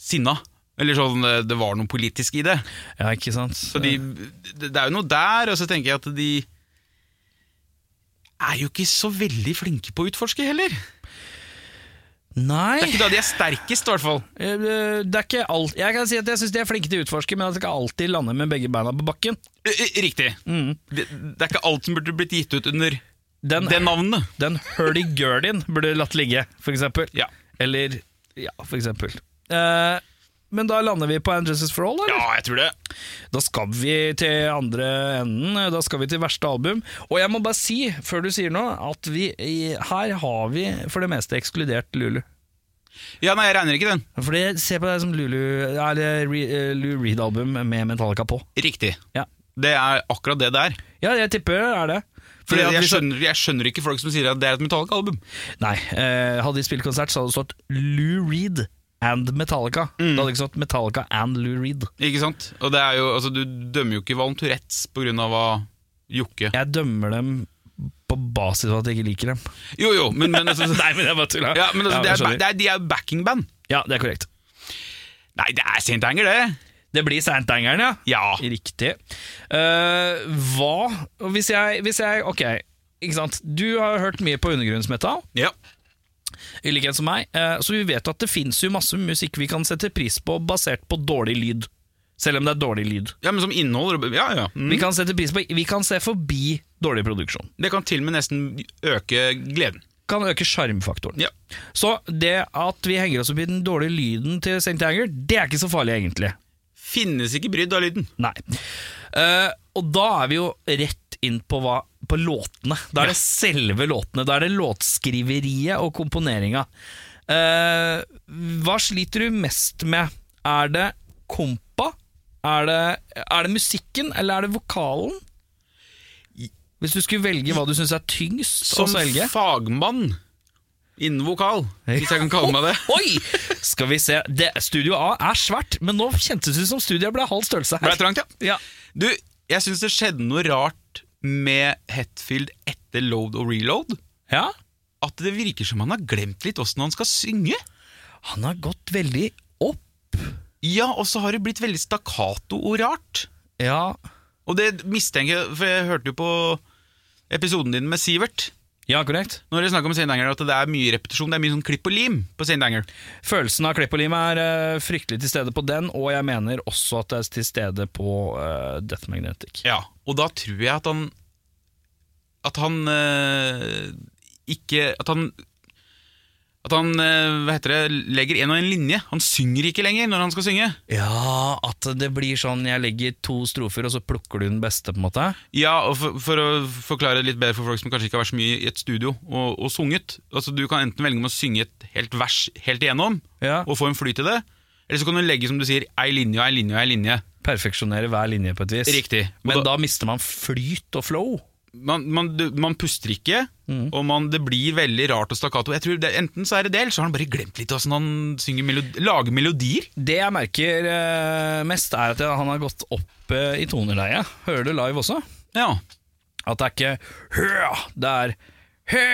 sinna. Eller sånn eh, det var noe politisk i det.
Ja, ikke sant. Eh,
Så de, det det er jo noe der, og så tenker jeg at de er jo ikke så veldig flinke på å utforske heller. Det er
Nei,
ikke da de er sterkest, i hvert fall.
eh, det er ikke alt Jeg kan si at jeg syns de er flinke til å utforske, men at de ikke alltid lander med begge beina på bakken.
Eh, eh, Riktig. Det, det er ikke alt som burde blitt gitt ut under
Mm. Den,
det
den,
navnet.
hurdy-gurdyen burde latt ligge, for eksempel.
Ja.
Eller Ja, for eksempel. Eh, men da lander vi på And Justice for All, eller?
jeg tror det.
Da skal vi til andre enden, da skal vi til verste album. Og jeg må bare si, før du sier noe, at vi, i- her har vi for det meste ekskludert Lulu.
Ja, nei, jeg regner ikke den.
For det ser på deg som Lulu, eller Re- eh, Lou Reed-album med Metallica på.
Riktig.
Ja.
Det er akkurat det det er.
Ja, jeg tipper det er det.
For
Fordi at
jeg,
hvis-
skjønner, jeg skjønner ikke folk som sier at det er et Metallica-album.
Nei, eh, hadde de spilt konsert, så hadde det stått Lou Reed and Metallica. Det hadde ikke stått Metallica and Lou Reed.
Ikke sant? Og det er jo, altså, Du dømmer jo ikke Valen Tourettes på grunn av hva Jokke
Jeg dømmer dem på basis av at jeg ikke liker dem.
Jo, jo, men, men
[laughs]
altså,
Nei, men jeg bare tuller.
ja, men,
Ja,
altså det
jeg
er, ba-
skjønner.
det er, De er jo backingband.
Ja, det er korrekt.
Nei, det er St. Anger, det.
Det blir Saint-Angeren, ja.
Ja.
Riktig. Eh, hva hvis jeg, hvis jeg Ok, ikke sant. Du har hørt mye på undergrunnsmetall,
ja.
i likhet som meg, eh, så vi vet at det fins jo masse musikk vi kan sette pris på basert på dårlig lyd. Selv om det er dårlig lyd.
Ja, men som inneholder Ja, ja. Mm.
Vi kan sette pris på Vi kan se forbi dårlig produksjon.
Det kan til og med nesten øke gleden.
Kan øke sjarmfaktoren.
Ja.
Så det at vi henger oss opp i den dårlige lyden til St. Anger, det er ikke så farlig, egentlig.
Finnes ikke brydd av lyden.
Nei. Eh, og da er vi jo rett inn på, hva, på låtene. Da er det selve låtene. Da er det låtskriveriet og komponeringa. Eh, hva sliter du mest med? Er det kompa? Er det, er det musikken, eller er det vokalen? Hvis du skulle velge hva du syns er tyngst å
Som
svelge
fagmann innen vokal, hvis jeg kan kalle meg det.
[laughs] Oi! Skal vi se. Det, studio A er svært, men nå kjentes det ut som studio ble halv størrelse
[laughs] Ble
her.
det trangt, ja?
Ja.
Du, jeg syns det skjedde noe rart med Hetfield etter load og reload.
ja?
At det virker som han har glemt litt åssen han skal synge.
Han har gått veldig opp.
Ja, og så har det blitt veldig stakkato og rart.
Ja,
Og det mistenker jeg, for jeg hørte jo på episoden din med Sivert.
ja korrekt.
Når dere snakker om St. Anger, at det er mye repetisjon. Det er mye sånn klipp og lim på St. Anger.
Følelsen av klipp og lim er eh, fryktelig til stede på den, og jeg mener også at det er til stede på eh, Death Magnetic.
Ja, og da tror jeg at han At han eh, ikke At han at han eh, hva heter det, legger en og en linje. Han synger ikke lenger når han skal synge.
Ja, at det blir sånn jeg legger to strofer, og så plukker du den beste, på en måte.
Ja, og for, for å forklare det litt bedre for folk som kanskje ikke har vært så mye i et studio og, og sunget Altså Du kan enten velge med å synge et helt vers helt igjennom
Ja.
og få en flyt i det, eller så kan du legge som du sier, ei linje og ei linje og ei linje.
Perfeksjonere hver linje på et vis.
Riktig. Og
Men
da-
da mister man flyt og flow.
Man, man, du, man puster ikke, og man, det blir veldig rart og stakkato. Jeg tror det, Enten så er det det, eller så har han bare glemt litt åssen han synger melod lager melodier.
Det jeg merker eh, mest, er at jeg, han har gått opp eh, i toneleiet. Hører du live også?
Ja.
At det er ikke hø, det er hø.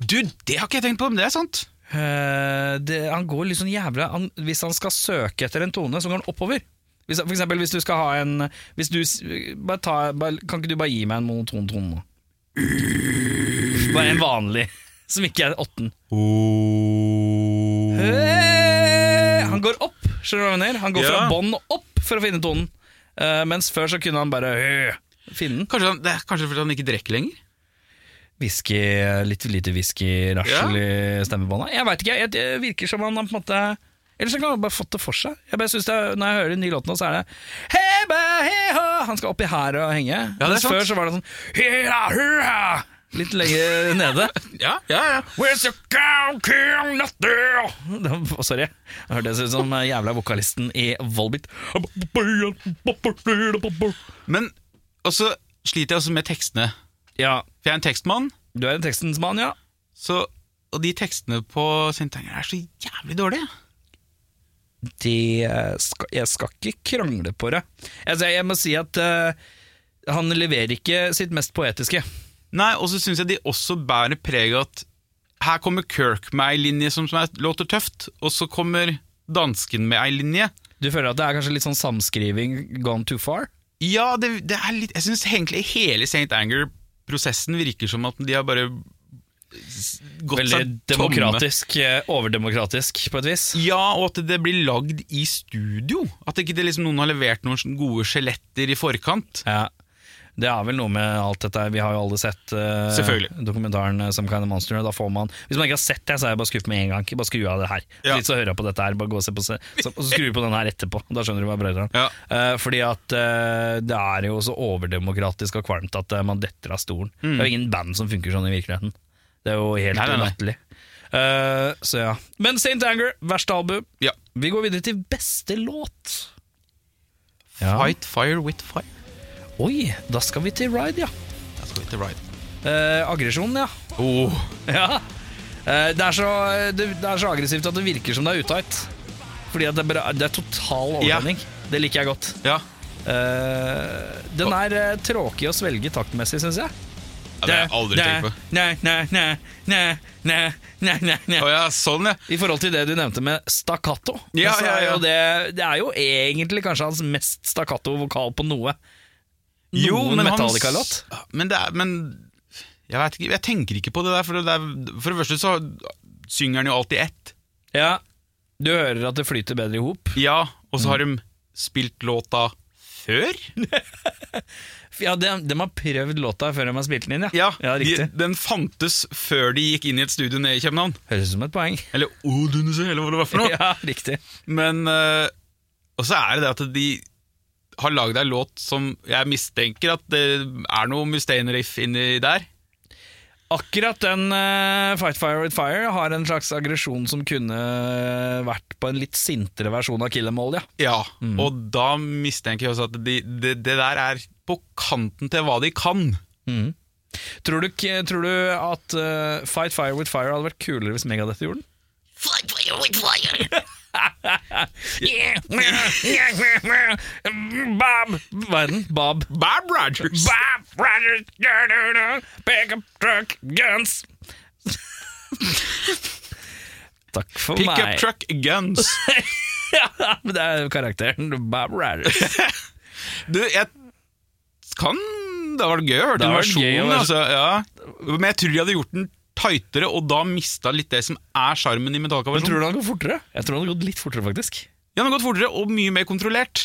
Du, det har ikke jeg tenkt på, men det er sant.
Eh, det, han går litt sånn jævla han, Hvis han skal søke etter en tone, så går han oppover. Hvis, for eksempel hvis du skal ha en hvis du, s- bare ta, bare, Kan ikke du bare gi meg en monoton tone nå? Bare en vanlig, som ikke er åtten. Hey! Han går opp, skjønner du hva jeg mener? Han går fra
Ja.
bånn opp for å finne tonen. Eh, mens før så kunne han bare øh, finne den.
Kanskje, han, det er kanskje fordi han ikke drikker lenger?
Whisky, litt lite whisky-rasjel i stemmebåndet. Jeg veit ikke, jeg, det virker som han har på en måte Eller så kan han bare fått det for seg. Jeg bare synes det, er- Når jeg hører de nye låtene, så er det «Hey, ba, hey, ha!» Han skal oppi her og henge.
er
Mens
sant.
før så var det sånn «Hurra, hurra!» Litt
[laughs]
lenger nede.
Ja, ja, ja.
Where's your cow, cow, not there? Det- Sorry, jeg hørte det ut som jævla vokalisten i Volbit.
Men og så sliter jeg også med tekstene.
Ja,
For jeg er en tekstmann,
du er en tekstens mann, ja.
så, og de tekstene på Sintanger er så jævlig dårlige.
det skal, eh, Jeg skal ikke krangle på det. Altså, jeg må si at eh, han leverer ikke sitt mest poetiske.
Nei, og så syns jeg de også bærer preg av at her kommer Kirk med ei linje som, som er, låter tøft, og så kommer dansken med ei linje.
Du føler at det er kanskje litt sånn samskriving gone too far?
Ja, det, det er litt Jeg syns egentlig hele St. Anger-prosessen virker som at de har bare s- gått
Veldig
seg tomme.
demokratisk, eh, overdemokratisk på et vis.
Ja, og at det blir lagd i studio. At ikke det liksom noen har levert noen gode skjeletter i forkant.
Ja. Det er vel noe med alt dette her. Vi har jo alle sett eh,
Selvfølgelig.
dokumentaren eh, Some Kind of Monster. og Da får man, hvis man ikke har sett det, så er jeg bare skuffet med en gang. Ikke Bare skru av det her.
Ja.
Litt så hører jeg på dette her, bare gå og se på se, så, Og så skrur vi på den her etterpå. Da skjønner du hva jeg prater om.
Ja.
Eh, fordi at eh, det er jo så overdemokratisk og kvalmt at eh, man detter av stolen. Det er jo ingen band som funker sånn i virkeligheten. Det er jo helt
Mm. Nei, nei, nei.
latterlig. Eh, så ja. Men St. Anger, verste album.
Ja.
Vi går videre til beste låt.
Fight fire with fire.
Oi, da skal vi til Ride, ja.
Da skal vi til Ride.
Eh, aggresjon, ja. [laughs]
Oh.
Ja. Eh, Det er, så, det, det er så aggressivt at det virker som det er utight. Fordi at det, er bra- det er total overtenning. Det liker jeg godt.
Ja.
Eh, den er eh, tråkig å svelge taktmessig, syns jeg.
det har jeg aldri tenkt på.
Nei, nei, nei, nei, nei, nei, nei, nei.
Å ja, sånn, ja.
I forhold til det du nevnte med stakkato.
Ja,
så
ja,
er
ja.
jo Det, det er jo egentlig kanskje hans mest stakkato vokal på noe. Noen Metallica-låt.
Men det er Men jeg vet ikke, jeg tenker ikke på det der, for det, er, for det første så synger han jo alltid ett.
Ja, du hører at det flyter bedre i hop.
Ja, og så har de spilt låta før.
Ja, de, de har prøvd låta før de har spilt den inn, ja.
Ja, de,
riktig.
Den fantes før de gikk inn i et studio nede i København.
Høres ut som et poeng.
Eller Odense, eller hva det var for noe.
[laughs] Ja, riktig.
Men eh, Og så er det det at de har lagd ei låt som jeg mistenker at det er noe Mustaine-riff inni der.
Akkurat den eh, Fight Fire With Fire har en slags aggresjon som kunne eh, vært på en litt sintere versjon av Kill Em All, ja.
Ja,
Mm.
og da mistenker jeg også at de, det, det der er på kanten til hva de kan.
Tror du, ikke- tror du at eh, Fight Fire With Fire hadde vært kulere hvis Megadeth gjorde den? [laughs] Fight Fire With Fire! Bob Hva er den? Bob.
Bab Rogers!
Bob Rogers, da, da, da, pick up truck guns. Takk for
Pick
meg.
up truck
[laughs]
guns.
Ja, men det er jo karakteren Bob [laughs] Rogers.
Du, jeg kan Det hadde vært gøy å høre
Det
den
hadde vært gøy å
versjonen.
være-
Altså, ja. Men jeg tror de hadde gjort den tightere, og da mista litt det som er sjarmen i
Men tror
Metallica-versjonen.
du han går fortere? Jeg tror han har gått litt fortere, faktisk.
Den hadde gått fortere og mye mer kontrollert.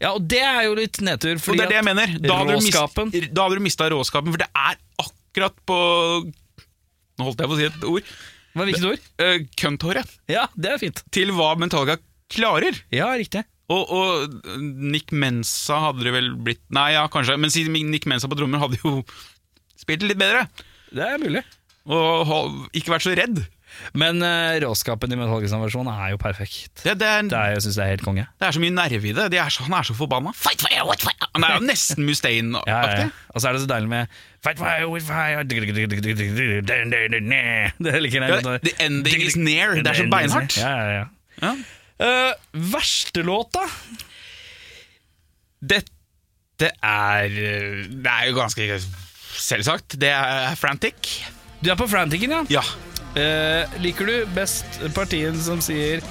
Ja, og det er jo litt nedtur.
Og
Fordi
det er det jeg
at
mener. Da hadde du mist-
råskapen
da hadde du mista råskapen, for det er akkurat på Nå holdt jeg på å si et ord.
Hva hvilket ord?
Uh, Kønthåret.
Ja, det er fint.
Til hva Metallica klarer.
Ja, riktig.
Og, og Nick Mensa hadde det vel blitt Nei, ja, kanskje. Men siden Nick Mensa på trommer hadde jo spilt litt bedre.
Det er mulig.
Og ha- ikke vært så redd.
Men eh, råskapen i Mette Holgersen-versjonen er jo perfekt.
Det, det,
Det
er,
er, jeg syns det er helt konge.
det er så mye nerve i det. De er så, han er så forbanna. Fight fire, what fire? Han er jo nesten Mustaine-aktig.
Ja, ja, ja. Og så er det så deilig med Fight fire with fire Det liker jeg.
Ja, the ending is near. Det er så beinhardt.
Ja, ja, ja.
Ja.
Eh, verste låta?
Dette er eh, Det er jo ganske selvsagt. Det er Frantic.
Du er på Frantiken, ja.
Ja.
Eh, liker du best partien som sier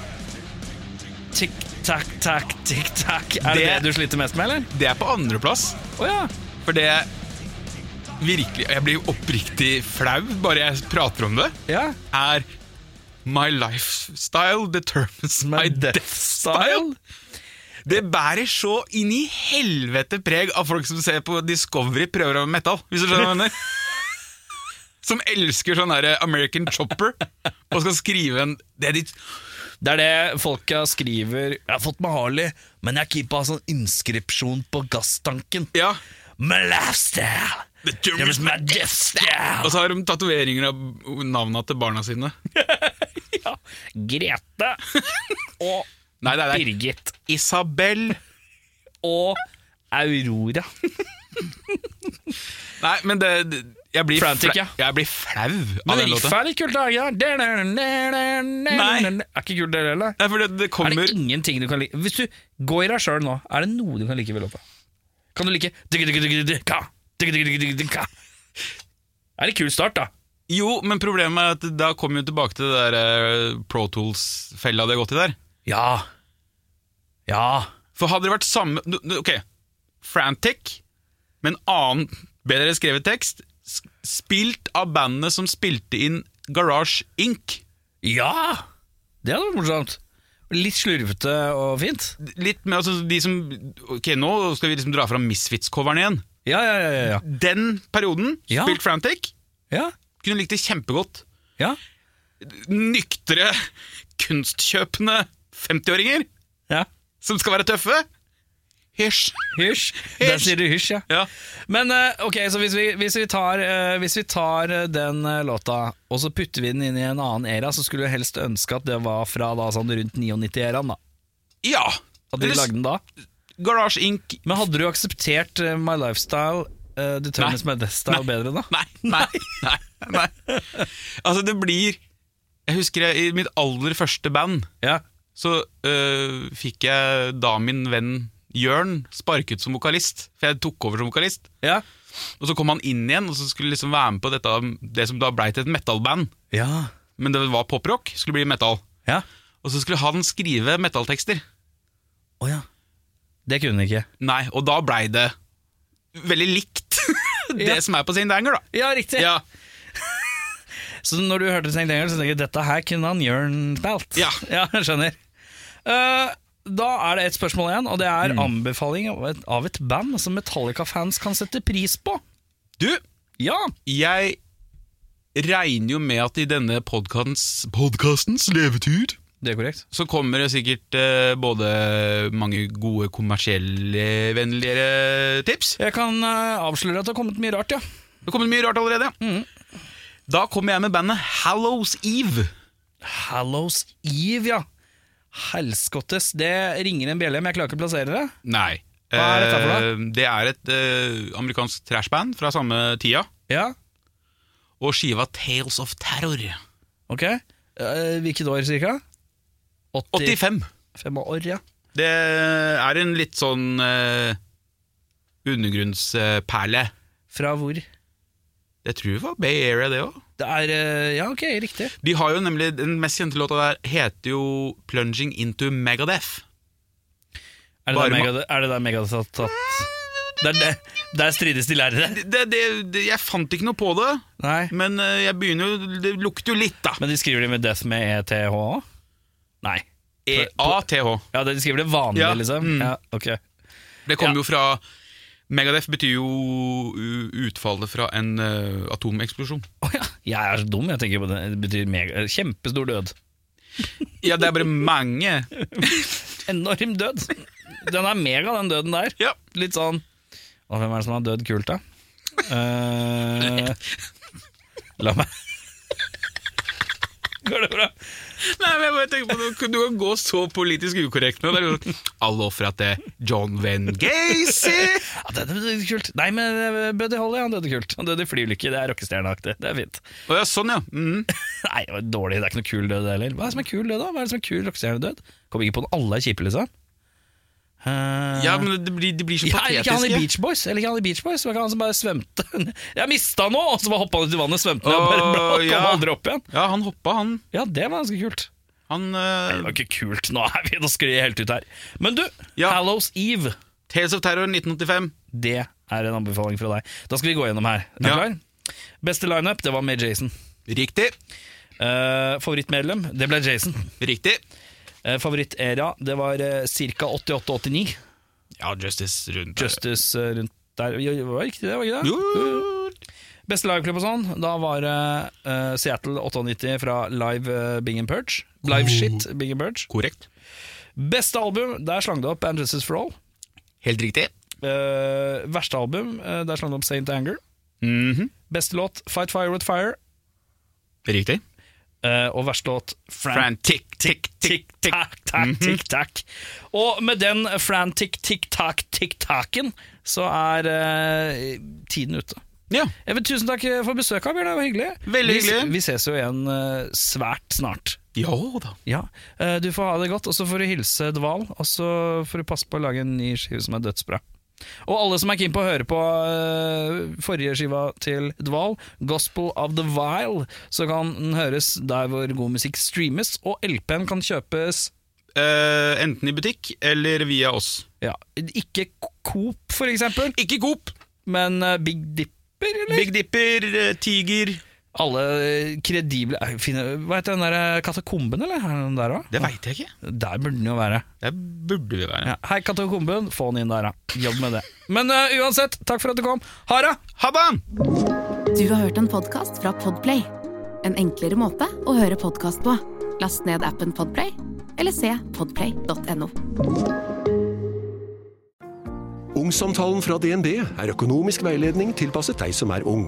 Tikk takk takk, tikk takk Er det, det
Det-
du sliter mest med, eller?
Det er på andreplass,
Å ja.
for det er virkelig Jeg blir jo oppriktig flau bare jeg prater om det.
ja.
er My lifestyle determines my, death style. Det bærer så inn i helvete preg av folk som ser på Discovery prøver å være metal, hvis du skjønner hva
[laughs]
jeg mener. Som elsker sånn derre American Chopper og skal skrive en det er ditt,
Det er det folka skriver Jeg har fått meg Harley, men jeg keeper sånn inskripsjon på gasstanken.
Ja.
My lifestyle There is my death
Og [laughs]
style
så har de tatoveringer av navna til barna sine.
Grete og
Nei, det er det.
Birgit
Isabel.
og Aurora.
Nei, men det, det jeg blir
Frantic,
flau-
ja.
Jeg blir flau av
Men
den
riffet
låta.
er litt kult, da. Ja. Nei. Er ikke kult, det heller?
Nei, for det, det
Er
kommer
det ingenting du kan like Hvis du går i deg sjøl nå, er det noe du kan like ved låta? Kan du like Digga-digga-digga-digga-ka, digga-digga-digga-digga-ka? Er det kul start, da?
Jo, men problemet er at da kommer vi jo tilbake til det der eh, Pro Tools-fella de har gått i der.
Ja. Ja.
For hadde det vært samme du- du- Ok, Frantic, men annen bedre skrevet tekst, s- spilt av bandene som spilte inn Garage Inc.
Ja! Det hadde vært morsomt. Litt slurvete og fint.
Litt med altså, de som Ok, nå skal vi liksom dra fram Misfits-coveren igjen.
Ja, ja, ja. ja,
Den perioden,
Ja.
spilt Frantic,
ja.
kunne likt det kjempegodt.
ja.
Nyktre, kunstkjøpende 50-åringer
ja.
som skal være tøffe. Hysj!
Hysj. Der sier du hysj, ja.
Ja.
Men eh, ok, så hvis vi, hvis vi tar, eh, hvis vi tar eh, den eh, låta, og så putter vi den inn i en annen era, så skulle jeg helst ønske at det var fra da, sånn rundt 99-eraen. da.
ja.
At de
Eller s-
lagde den da.
Garage Inc.
Men hadde du akseptert eh, My Lifestyle, uh, Determines My Death Style, bedre da?
Nei, nei, nei, nei. Altså, det blir Jeg husker jeg, i mitt aller første band
Ja.
så øh, fikk jeg da min venn Jørn sparket som vokalist, for jeg tok over som vokalist.
ja.
Og så kom han inn igjen og så skulle liksom være med på dette, det som da blei til et metal-band.
Ja.
Men det var poprock, skulle bli metal.
Ja.
Og så skulle han skrive metalltekster.
Å ja. Det kunne den ikke.
Nei, og da blei det veldig likt [laughs] det
Ja.
som er på St. Anger, da.
Ja, riktig.
Ja,
Så når du hørte St. Engel, så tenker jeg dette her kunne han Jørn spilt. [laughs]
Ja.
jeg skjønner. Eh, da er det et spørsmål igjen, og det er anbefaling av et, av et band som Metallica-fans kan sette pris på.
Du,
Ja!
jeg regner jo med at i denne podkastens Podkastens levetur
Det er korrekt.
så kommer det sikkert eh, både mange gode kommersielle vennligere tips.
Jeg kan eh, avsløre at det har kommet mye rart, ja.
Det kommer mye rart allerede.
Mm.
Da kommer jeg med bandet Hallows Eve.
Hallows Eve, ja. Helskottes. Det ringer en bjelle, men jeg klarer ikke å plassere det.
Nei.
Hva er dette for
Eh, Det er et eh, amerikansk trashband fra samme tida.
Ja,
Og skiva Tales of Terror.
ok. Eh, hvilket år, cirka? 80
85.
85 år, ja.
Det er en litt sånn eh, undergrunnsperle.
Fra hvor?
Jeg tror det var Bay Area, det òg.
Det er eh, Ja, ok, riktig.
De har jo nemlig, Den mest kjente låta der heter jo 'Plunging Into Megadeth'.
Er det,
Bare
der mega, er det der Megadeth har tatt Der, der, der strides de lærere.
Det, det, det, jeg fant ikke noe på det,
Nei.
men eh, jeg begynner jo, det lukter jo litt, da.
Men de skriver det med death med E ETH òg? Nei.
E E-A-T-H.
Ja, de skriver det vanlig,
Ja,
liksom?
mm.
Ja, ok.
Det kommer
Ja.
jo fra Megadeth betyr jo u- utfallet fra en eh, atomeksplosjon.
Å ja. Jeg er så dum, jeg tenker på det. Det betyr mega, kjempestor død.
Ja, det er bare mange.
Enorm død. Den er mega, den døden der.
Ja.
Litt sånn Og hvem er det som har dødd kult, da?
[laughs]
Eh, la meg Går det bra?
Nei, men jeg bare tenker på det. Du kan gå så politisk ukorrekt med det. Det er jo sånn, Alle ofra til John Van Gacy!
Ja, det er litt kult. Nei, men eh, Buddy Holly han døde kult. Han døde i flyulykke. Det er rockestjerneaktig. Det er fint. [laughs]
Å ja, sånn, ja. Mm.
Nei, det var dårlig. Det er ikke noe kul død heller. Hva er det som er kul død, da? Hva er det som er kul rockestjernedød? Kom ikke på den. Alle er kjipe, liksom. Eh,
Ja, men det blir, det blir så
ja, ikke han i
patetiske.
Beach Boys? Eller ikke han i Beach Boys? Det var ikke han som bare svømte [laughs] Jeg mista noe! Og så bare hoppa han ut i vannet, svømte ned og bare
Åh,
bla, kom
ja.
aldri opp igjen.
Ja, han hoppa, han.
Ja, det var ganske kult.
han
Det
eh,
var ikke kult. Nå er vi, nå sklir jeg helt ut her. Men du,
Ja.
Hallows Eve,
Tales of Terror 1985.
det er en anbefaling fra deg. Da skal vi gå gjennom her. Er du
Ja.
klar? Beste lineup, det var med Jason.
Riktig.
Eh, favorittmedlem, det ble Jason.
Riktig.
Uh, Favorittera, det var uh, ca. 88-89.
Ja, Justice rundt der.
Justice eh, rundt der. Jo, jo, var det riktig, det? var ikke det?
Jo, jo, jo.
Beste liveklubb og sånn, da var det eh, Seattle 98 fra Live eh, Bing and Purge. Live
Mm.
Shit Bing and Purge.
Korrekt.
Beste album, der slang det opp And Justice for All.
Helt riktig.
Eh, verste album, eh, der slang det opp Saint Anger.
Mhm.
Beste låt Fight Fire With Fire.
Riktig.
eh, og verste låt Fran
Frantic, tick, tick, tick.
Tack, tack,
mhm.
tick, tack. Og med den frantic tick-tack-tick-tacken, så er eh, tiden ute.
Ja.
Jeg vil, tusen takk eh, for besøket, Bjørn. Det var hyggelig.
Veldig
Vi-
hyggelig.
Vi ses jo igjen eh, svært snart.
Ja da.
Ja. Eh, Du får ha det godt, og så får du hilse Dval. Og så får du passe på å lage en ny skive som er dødsbra. Og alle som er keen på å høre på eh, forrige skiva til Dval, 'Gospel of the Vile', så kan den høres der hvor god musikk streames, og LP-en kan kjøpes
Eh, enten i butikk eller via oss.
ja, Ikke Coop, for eksempel,
Ikke Coop,
men eh, Big Dipper, eller?
Big Dipper, eh, Tiger
Alle kredible eh, fine, Hva heter den der eh, katakomben, eller? Er den der òg?
Det veit jeg ikke.
Der burde den jo være.
Det burde vi være.
Ja. Hei, Katakomben, få den inn der, da. Jobb med det. Men eh, uansett, takk for at du kom. Ha det!
Ha det!
Du har hørt en podcast fra Podplay. En enklere måte å høre podcast på. Last ned appen Podplay, eller se podplay.no.
Ungsamtalen fra DNB er økonomisk veiledning tilpasset deg som er ung.